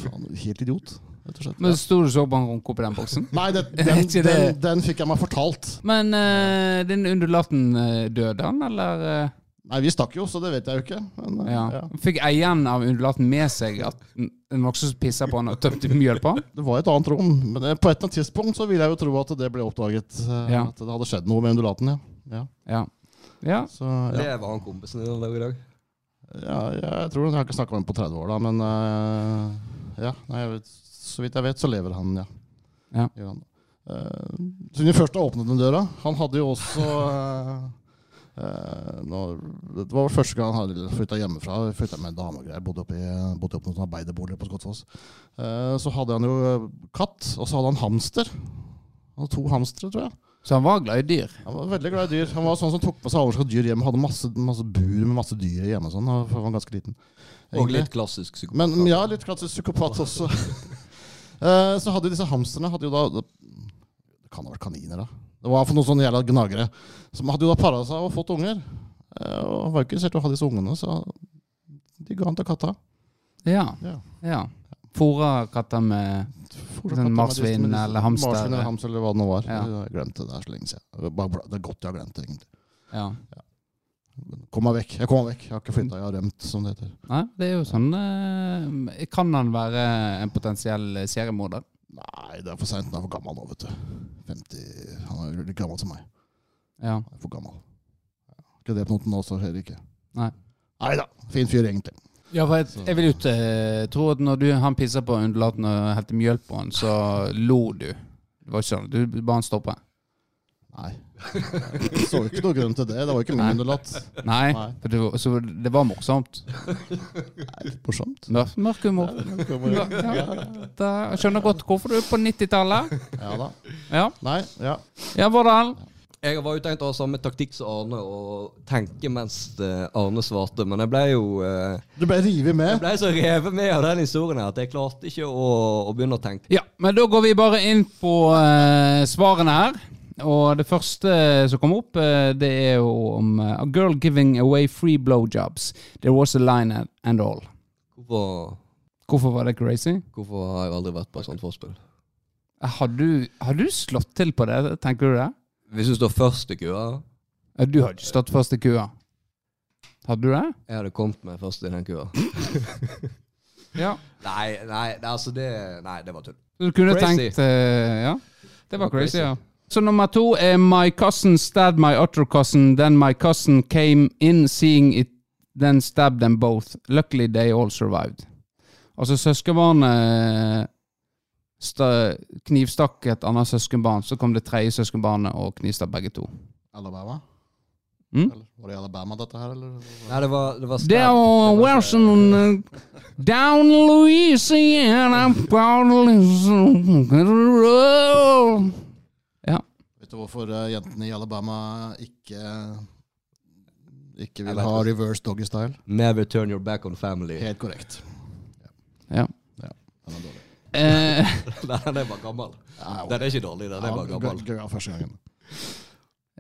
Faen, helt idiot, rett og slett.
Men sto du så på han runke oppi den boksen?
Nei, det,
Er
den,
ikke
den,
det-
den fikk jeg meg fortalt.
Men eh, den undulaten eh, døde han, eller? eh?
Nei, vi stakk jo, så det vet jeg jo ikke. Men, eh,
Ja.
ja.
Fikk eieren av undulaten med seg at n- det var noen som pissa på han og tømte mjøl på han?
Det var et annet rom, men eh, på et eller annet tidspunkt så vil jeg jo tro at det ble oppdaget. eh,
Ja.
At det hadde skjedd noe med undulaten, ja. ja.
Ja. ja.
Så, ja.
Det var han kompisen din han lager i dag.
ja jeg tror Jeg har ikke snakka med ham på 30 år, da, men eh, ja. Nei, jeg vet, så vidt jeg vet, så lever han, ja.
Ja.
Gjør han. Eh, Siden vi først har åpnet den døra Han hadde jo også eh, eh, nå, Det var vel første gang han hadde flytta hjemmefra. Flytta med en dame og greier. Bodde oppe i bodde oppe i noen arbeiderboliger på Skotsfoss. Eh, så hadde han jo eh, katt, og så hadde han hamster. Han hadde to hamstere, tror jeg.
Så han var glad i dyr.
Han var veldig glad i dyr. Han var sånn som tok med seg overskatt dyr hjem. Hadde masse, masse bur med masse dyr hjemme og sånn. Han var ganske liten.
Og
Egentlig.
litt klassisk psykopat.
Men ja, litt klassisk psykopat også. Eh, så hadde disse hamsterne hadde jo da Det kan ha vært kaniner, da. Det var for noen sånne sånn jævla gnagere. Som hadde jo da para seg og fått unger. Eh, og han var jo ikke interessert i å ha disse ungene, så de ga han til katta.
Ja.
Ja.
ja. Fôra katter med
Fôret
Sånn
katta med disse-
marsvin
med disse-
eller hamster.
Marsvin eller hamster eller hva det nå var.
Ja.
Jeg glemte det der så lenge siden. Det er bare bra- Det er godt jeg har glemt det, egentlig.
Ja.
Kom meg vekk. Jeg kommer meg vekk. Jeg har ikke flytta, jeg har rømt, som det heter.
Nei, det er jo sånn eh, Kan han være en potensiell seriemorder?
Nei, det er for seint. Han er for gammel nå, vet du. 50 Han er jo like gammel som meg.
Ja.
Han er for gammel. Ikke drept noen nå, så heller ikke.
Nei.
Neida, Fin fyr, egentlig.
Ja, for jeg, jeg vil jo ikke eh, tro at når du, han pissa på undulaten og helte mjøl på han, så lo du. Det var ikke sånn. Du ba han stoppe.
Nei. Jeg så ikke noen grunn til det. Det var ikke min
Nei.
underlatt.
Nei.
Nei.
For det, var- så det var morsomt.
Morsomt.
Mørk, mørk humor. Ja, ja. Da, jeg skjønner godt hvorfor du er på 90-tallet.
Ja da.
Ja.
Nei, ja.
ja, Vårdal.
Jeg var jo tenkt å ha samme taktikk som Arne og tenke mens eh, Arne svarte, men jeg ble jo eh,
Du ble revet
Jeg
med.
ble så revet med av den historien her at jeg klarte ikke å, å begynne å tenke.
Ja, men da går vi bare inn på eh, svarene her. Og det første som kom opp, eh, det er jo om eh, A girl giving away free blowjobs. There was a line and- and all.
Hvorfor,
Hvorfor var det crazy?
hvorfor har jeg aldri vært på et sånt forspill?
Eh, Har du, har du slått til på det, tenker du det?
Hvis du står først i køa
Ja, Du har ikke stått først i køa. Hadde du det?
Jeg hadde kommet meg først i den køa.
Ja.
Nei, nei, det- altså det Nei, det var tull.
Du kunne
Crazy.
tenkt eh, Ja. Det var
var
crazy,
crazy.
ja. Så nummer to er My cousin stabbed my other cousin, then my cousin came in seeing it, then stabbed them both. Luckily they all survived. Altså søskenbarnet eh, sta- knivstakk et annet søskenbarn, så kom det tredje søskenbarnet og knivstakk begge to.
Alabama?
Mm?
Eller, var det i Alabama, dette her, eller?
Nei, det var, det var stab-
There
var
were
ikke-
some uh, down Louisiana bottles. Ja.
Vet du hvorfor eh, jentene i Alabama ikke ikke
Jeg
vil
vet
ha
det.
reverse doggy style?
Never turn your back on family.
Helt korrekt.
ja.
Den er dårlig.
Eh,
Nei, den er bare gammel.
Nei, ok.
Den er ikke dårlig, den er bare
Ja,
gammel.
gøy- gøy av første gangen.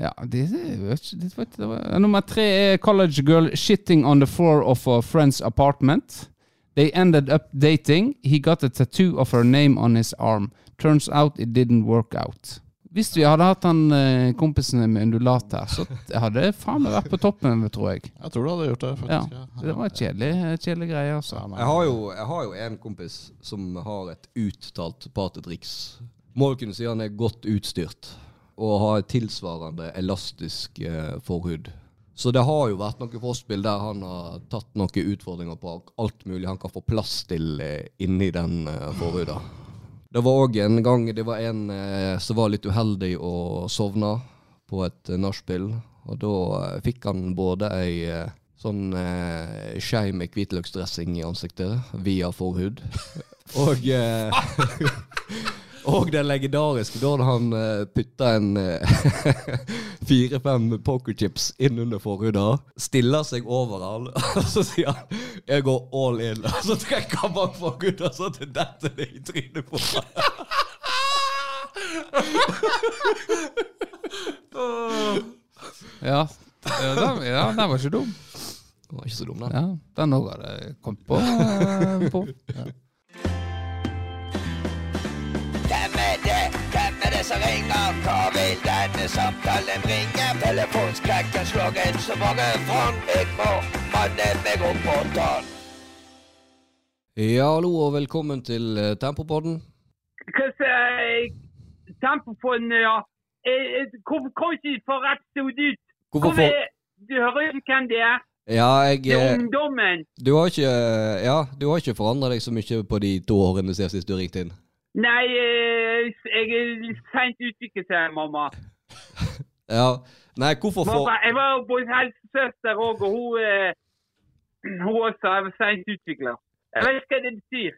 ja, det, det var ikke- det var ikke- det var- Nummer tre er college girl shitting on the floor of a friend's apartment. They ended up dating. He got a tattoo of her name on his arm. Turns out it didn't work out. Hvis vi hadde hatt han eh, kompisen med undulat her, så hadde det faen meg vært på toppen, tror jeg.
Jeg tror du hadde gjort det,
Ja,
faktisk.
Det var kjedelig, kjedelig greie, altså.
Ja, nei.
Jeg har, jo, jeg har jo en kompis som har et uttalt patetriks. Må jo kunne si han er godt utstyrt og har et tilsvarende elastisk eh, forhud. Så det har jo vært noen forspill der han har tatt noen utfordringer på alt mulig han kan få plass til eh, inni den eh, forhuden. Det var òg en gang det var en eh, som var litt uheldig og sovna på et eh, nachspiel. Og da eh, fikk han både ei eh, sånn eh, skei med hvitløksdressing i ansiktet via forhud. Og eh, Og den legendariske da han eh, putta en eh, fire-fem pokerchips inn under forhuda, stiller seg over han, og så sier han 'jeg går all in', og så trekker han bak forhuda, så det detter det i trynet på han.
Ja, ja, den, ja, den var ikke dum.
Det var ikke så dum, den.
Ja, den òg hadde jeg kommet på. eh, på.
Hvem er det? Hvem er det som
som ringer. Hva vil denne samtalen bringe? Telefonskrekken slår inn så mange fond. Jeg må manne meg opp og ta den.
Ja, hallo og velkommen til eh, Tempopodden.
Because uh, Tempofon, ja. Eh, eh, Kom, kom ikke for rett stod ut.
Hvorfor
Kom,
får
eh, du hører jo hvem det er.
Ja, jeg
Det er
eh,
ungdommen.
Du har ikke eh, Ja, du har ikke forandra deg så mye på de to årene siden sist du ringte inn.
Nei, eh, jeg er litt sent utviklet, mamma.
Ja. Nei, hvorfor får
mamma. Jeg var jo både helsesøster òg, og hun, eh, hun også er sent utviklet. Jeg vet ikke hva det betyr.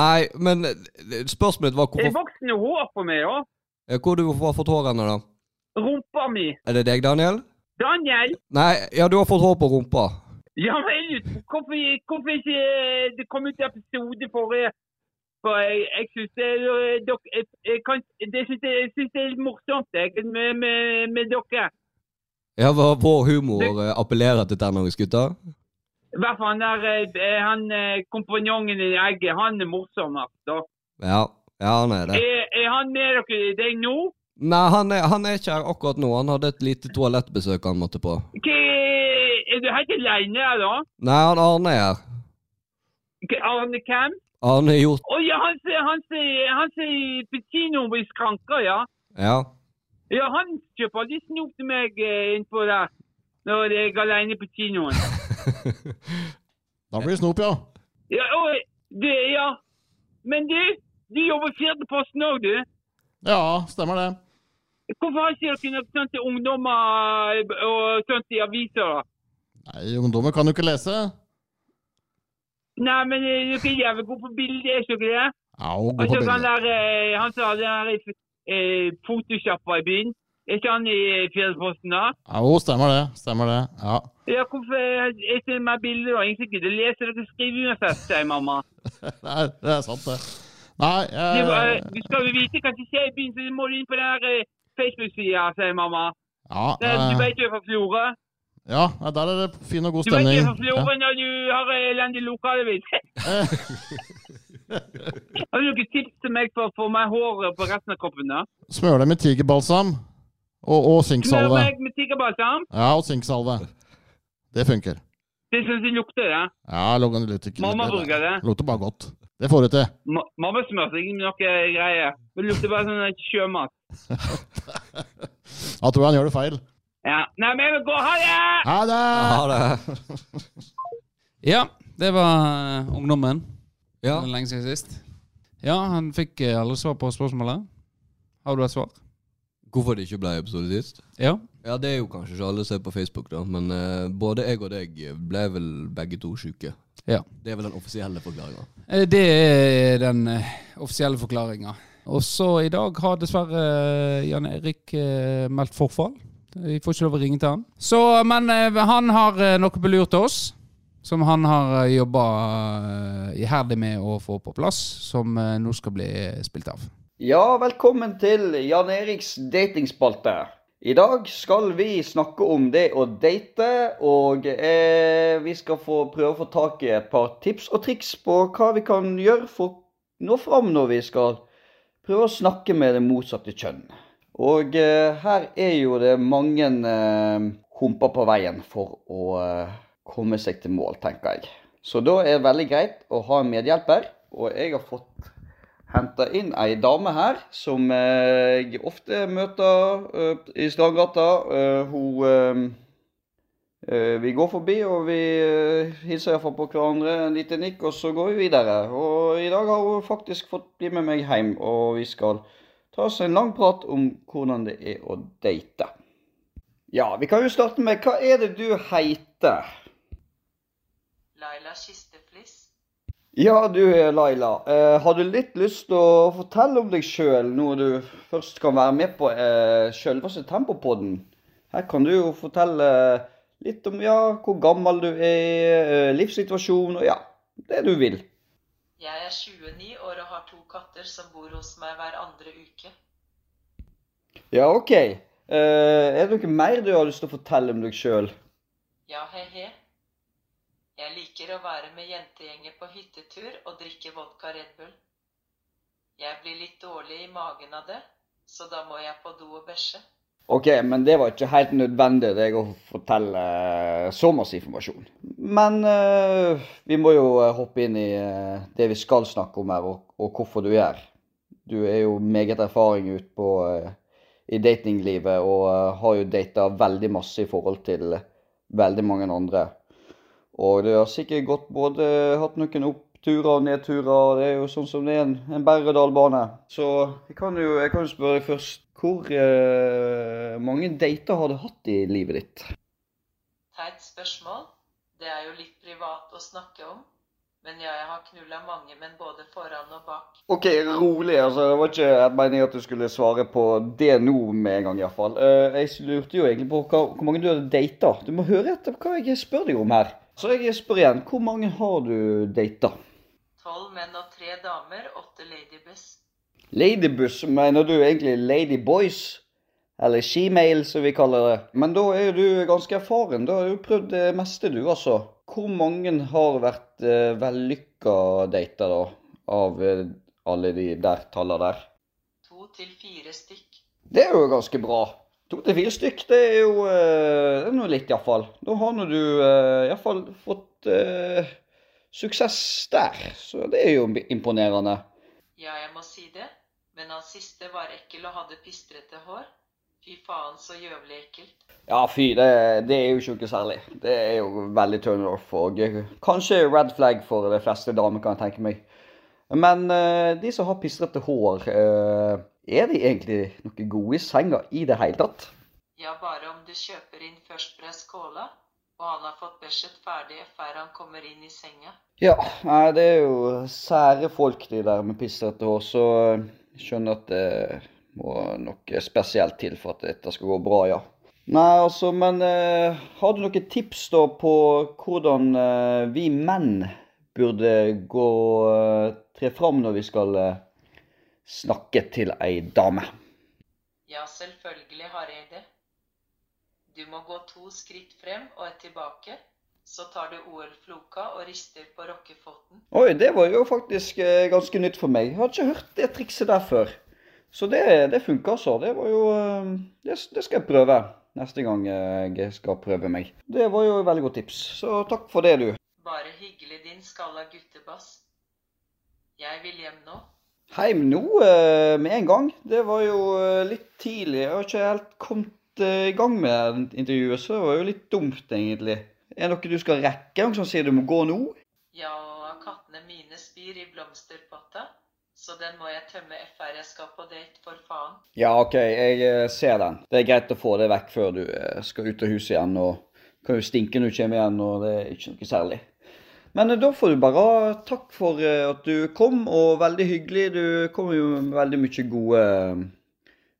Nei, men eh, spørsmålet mitt var
Det er
hvorfor
voksende hår på meg òg.
Ja, Hvor du har fått hårene, da?
Rumpa mi.
Er det deg, Daniel?
Daniel,
Nei, ja, du har fått hår på rumpa.
ja vel, hvorfor, hvorfor ikke eh, det kom ut episode forrige? For jeg, jeg syns det, er, eh, dok- jeg, jeg kan, det, synes jeg, jeg synes det er litt morsomt jeg, med, med, med dere.
Ja, hva vår humor eh, appellerer til tenåringsgutter?
I hvert fall han der eh, han, eh, kompanjongen i egget, han er morsom. Altså.
Ja. Ja, han er det.
Er, er han med dere i deg nå?
Nei, han er, han er ikke her akkurat nå. Han hadde et lite toalettbesøk han måtte på.
Hva- Er du helt alene her, da?
Nei, han Arne er her.
Hva- Arne hvem?
Arne Hjort.
Å ja, han som- han som- han som er på kino i skranker, ja.
Ja.
Ja, han kjøper aldri snop til meg eh, innpå der. Når jeg er alene på kinoen.
Da blir det snop, ja.
Ja, og, eh, det, ja. Men du, du jobber i Firdaposten òg, du.
Ja, stemmer det.
Hvorfor har ikke dere noe sånt til ungdommer eh, og sånt i aviser? da?
Nei, ungdommer kan jo ikke lese.
Nei, men eh, dere er jævlig gode på bilder, er ikke dere det?
Au, gå
Og
på
så han
bildet.
der, eh, han som hadde den der eh, photosjappa i byen. Er ikke han i Firdaposten, da?
Au, stemmer det. Stemmer det. Ja.
Ja, hvorfor eh, er det ikke mer bilder, da? Egentlig gidder jeg lese dere skriver uansett, sier mamma.
Det er, det er sant, det. Nei, eh,
Det
jeg,
var, du skal jo vite hva som skjer i byen, så du må inn på den her, eh, Facebook-sida, sier mamma.
ja,
Det, er- du
eh,
vet jo jeg er fra Florø.
ja, nei, der er det fin og god
Du vet jo jeg
stemning.
er fra Florø når du har eh, elendig lokale mitt. har du noen tips til meg for å få meg hår på resten av kroppen? da?
Ja. Smør det med tigerbalsam og, og
Smør
sinksalve.
meg med tigerbalsam.
Ja, og sinksalve. Det funker.
Det er sånn som lukter det.
Ja, Logan lukter ikke
Mamma
det-
bruker det.
Lukter bare godt. Det får du til.
Ma- Mamma smører seg med noe greier. Det lukter bare sånn eh, sjømat.
Da tror jeg han gjør det feil.
Ja. Nei, men jeg vil gå. Ha det!
Ha det!
Ja, det.
Ja, det var eh, ungdommen.
Ja.
Det er lenge siden sist. Ja, han fikk eh, alle svar på spørsmålet. Har du et svar?
Hvorfor det ikke ble episode sist?
Ja.
Ja, det er jo kanskje ikke alle som er på Facebook, da, men eh, både jeg og deg ble vel begge to syke.
Ja.
Det er vel den offisielle forklaringa.
Eh, Det er den eh, offisielle forklaringa. Og så i dag har dessverre eh, Jan Erik eh, meldt forfall. Vi får ikke lov å ringe til han. Så, men eh, han har eh, noe på lur til oss. Som han har jobba iherdig med å få på plass, som eh, nå skal bli spilt av.
Ja, velkommen til Jan Eriks datingspalte. I dag skal vi snakke om det å date, og eh, vi skal få prøve å få tak i et par tips og triks på hva vi kan gjøre for å nå fram når vi skal prøve å snakke med det motsatte kjønn. Og eh, her er jo det mange eh, humper på veien for å eh, komme seg til mål, tenker jeg. Så da er det veldig greit å ha en medhjelper, og jeg har fått henta inn ei dame her som eh, jeg ofte møter eh, i Strandgata. Eh, hun eh, eh, Vi går forbi, og vi uh, hilser iallfall på hverandre en liten nikk, og så går vi videre. Og i dag har hun faktisk fått bli med meg hjem, og vi skal ta oss en lang prat om hvordan det er å date. Ja, vi kan jo starte med Hva er det du heter?
Laila Kisteflis.
Ja, du Laila. Eh, har du litt lyst til å fortelle om deg sjøl, når du først kan være med på eh, sjølveste Tempopodden? Her kan du jo fortelle litt om ja, hvor gammel du er, eh, livssituasjon og ja, det du vil.
Jeg er 29 år og har to katter som bor hos meg hver andre uke.
Ja, OK. Eh, er det noe mer du har lyst til å fortelle om deg sjøl?
Ja, he-he. Jeg liker å være med jentegjenger på hyttetur og drikke vodka Red Bull. Jeg blir litt dårlig i magen av det, så da må jeg på do og bæsje.
Ok, men det var ikke helt nødvendig deg å fortelle eh, så masse informasjon. Men eh, vi må jo eh, hoppe inn i eh, det vi skal snakke om her, og, og hvorfor du er her. Du er jo meget erfaring ut på, eh, i datinglivet, og eh, har jo data veldig masse i forhold til eh, veldig mange andre. Og du har sikkert gått både hatt noen oppturer og nedturer, og det er jo sånn som det er en, en berg-og-dal-bane. Så jeg kan jo jeg kan jo spørre deg først. Hvor eh, mange dater har du hatt i livet ditt?
Teit spørsmål. Det er jo litt privat å snakke om. Men ja, jeg har knulla mange, men både foran og bak.
Ok, rolig. altså. Det var ikke meningen at du skulle svare på det nå med en gang. I hvert fall. Eh, jeg lurte jo egentlig på hva, hvor mange du hadde data. Du må høre etter hva jeg spør deg om her. Så jeg spør igjen. Hvor mange har du data?
Tolv menn og tre damer, åtte ladybuss.
Ladybuss, mener du egentlig ladyboys? Eller shemale, som vi kaller det. Men da er jo du ganske erfaren. Da har du prøvd det meste, du, altså. Hvor mange har vært eh, vellykka data, da? Av eh, alle de der tallene der?
To til fire stykk.
Det er jo ganske bra. To til fire stykk, det er jo eh, det er noe litt, iallfall. Da har nå du eh, iallfall fått eh, suksess der, så det er jo imponerende.
Ja, jeg må si det. Men han siste var ekkel og hadde pistrete hår. Fy faen, så gjøvlig ekkelt.
Ja, fy, det, det er jo ikke noe særlig. Det er jo veldig turn-off og kanskje red flag for de fleste damer, kan jeg tenke meg. Men eh, de som har pistrete hår, eh, er de egentlig noe gode i senga i det hele tatt?
Ja, bare om du kjøper inn først fra skåla, og han har fått bæsjet ferdig før han kommer inn i senga.
Ja, nei, det er jo sære folk de der med pistrete hår, så jeg skjønner at det må noe spesielt til for at dette skal gå bra, ja. Nei, altså, men eh, har du noen tips da på hvordan eh, vi menn burde gå eh, tre fram når vi skal eh, snakke til ei dame?
Ja, selvfølgelig har jeg det. Du må gå to skritt frem og et tilbake. Så tar du OL-floka og rister på rockefoten.
Oi, det var jo faktisk eh, ganske nytt for meg. Jeg har ikke hørt det trikset der før. Så det, det funka, altså. Det var jo eh, det, det skal jeg prøve neste gang eh, jeg skal prøve meg. Det var jo et veldig godt tips, så takk for det, du.
Bare hyggelig, din skalla guttebass. Jeg vil hjem nå.
Heim nå eh, med en gang. Det var jo eh, litt tidlig. Jeg har ikke helt kommet eh, i gang med intervjuet, så det var jo litt dumt, egentlig. Er det noe du skal rekke? Noen som sier du må gå nå?
Ja, og kattene mine spyr i blomsterpotta, så den må jeg tømme FR jeg skal på date, for faen.
Ja, OK, jeg eh, ser den. Det er greit å få det vekk før du eh, skal ut av huset igjen. og kan jo stinke når du kommer igjen, og det er ikke noe særlig. Men eh, da får du bare ha takk for eh, at du kom, og veldig hyggelig. Du kom jo med veldig mye gode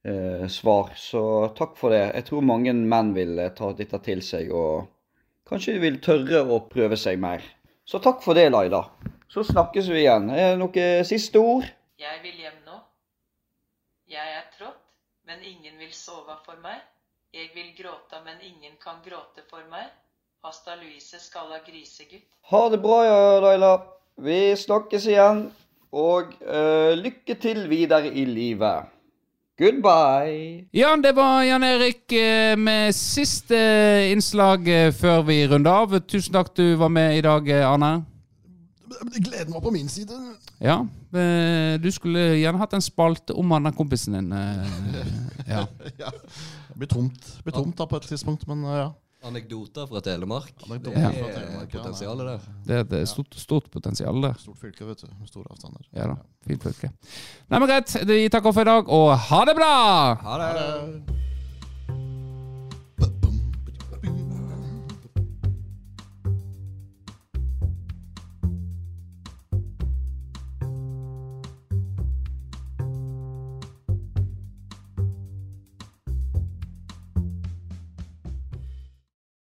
eh, svar, så takk for det. Jeg tror mange menn vil eh, ta dette til seg, og kanskje de vil tørre å prøve seg mer. Så takk for det, Laila. Så snakkes vi igjen. Er det noen siste ord?
Jeg vil hjem nå. Jeg er trått, men ingen vil sove for meg. Jeg vil gråte, men ingen kan gråte for meg. Hasta Louise skalla grisegutt.
Ha det bra, ja, Laila. Vi snakkes igjen. Og eh, lykke til videre i livet. Goodbye.
Jan, det var Jan Erik eh, med siste innslag eh, før vi runder av. Tusen takk du var med i dag, eh, Arne.
Gleden var på min side.
Ja, eh, du skulle gjerne hatt en spalte om han der kompisen din. eh, Ja.
Ja. Det blir tomt. Det blir tomt da på et tidspunkt, men eh, ja.
Anekdoter fra Telemark.
Anekdoter
Det
fra
er
Telemark, ja,
Potensialet der.
Det er et stort, stort potensial der.
Stort fylke, vet du. Med store avstander.
Ja da, fint fylke. Nei, men greit. Vi takker for i dag, og ha det bra!
Ha det!